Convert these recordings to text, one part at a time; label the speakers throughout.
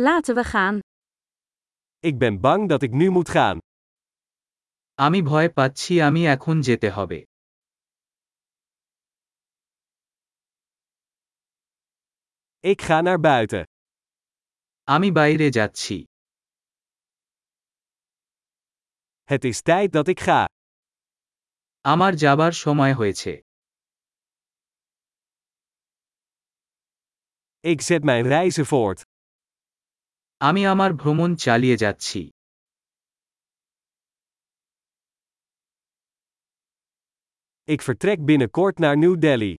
Speaker 1: Laten we gaan.
Speaker 2: Ik ben bang dat ik nu moet gaan.
Speaker 3: আমি ভয় পাচ্ছি আমি এখন যেতে হবে
Speaker 2: Ik ga naar buiten.
Speaker 3: আমি বাইরে যাচ্ছি
Speaker 2: Het is tijd dat ik ga.
Speaker 3: আমার যাবার সময় হয়েছে
Speaker 2: Ik zet mijn reizen voort.
Speaker 3: আমি আমার ভ্রমণ চালিয়ে যাচ্ছি
Speaker 2: Ik vertrek binnenkort naar New Delhi.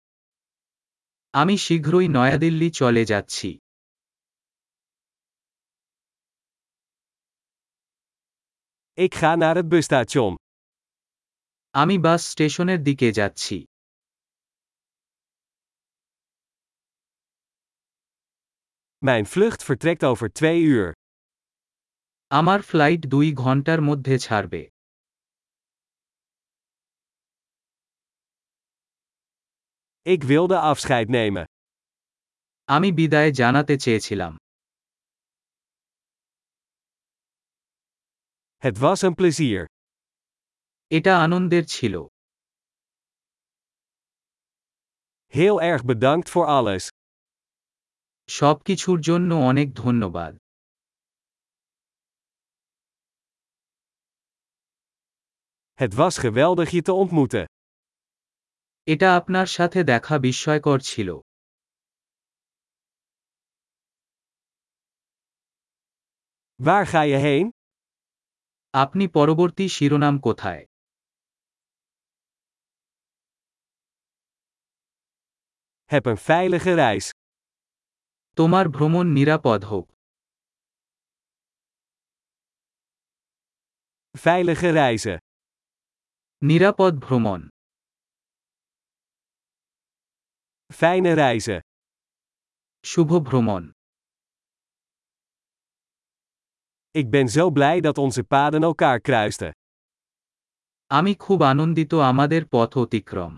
Speaker 3: আমি শীঘ্রই নয়াদিল্লি চলে যাচ্ছি
Speaker 2: Ik ga naar het busstation.
Speaker 3: আমি বাস স্টেশনের দিকে যাচ্ছি
Speaker 2: Mijn vlucht vertrekt over twee uur.
Speaker 3: আমার ফ্লাইট দুই ঘন্টার মধ্যে ছাড়বে
Speaker 2: Ik wilde afscheid nemen.
Speaker 3: আমি বিদায় জানাতে চেয়েছিলাম
Speaker 2: Het was een plezier.
Speaker 3: এটা আনন্দের ছিল
Speaker 2: Heel erg bedankt voor alles.
Speaker 3: সবকিছুর জন্য অনেক ধন্যবাদ
Speaker 2: Het was geweldig je te ontmoeten.
Speaker 3: এটা আপনার সাথে দেখা বিস্ময়কর ছিল
Speaker 2: Waar ga je heen?
Speaker 3: আপনি পরবর্তী শিরোনাম কোথায়
Speaker 2: Heb een veilige reis.
Speaker 3: তোমার ভ্রমণ নিরাপদ হোক
Speaker 2: Veilige reizen.
Speaker 3: নিরাপদ ভ্রমণ
Speaker 2: Fijne reizen.
Speaker 3: শুভ ভ্রমণ
Speaker 2: Ik ben zo blij dat onze paden elkaar kruisten.
Speaker 3: আমি খুব আনন্দিত আমাদের পথ অতিক্রম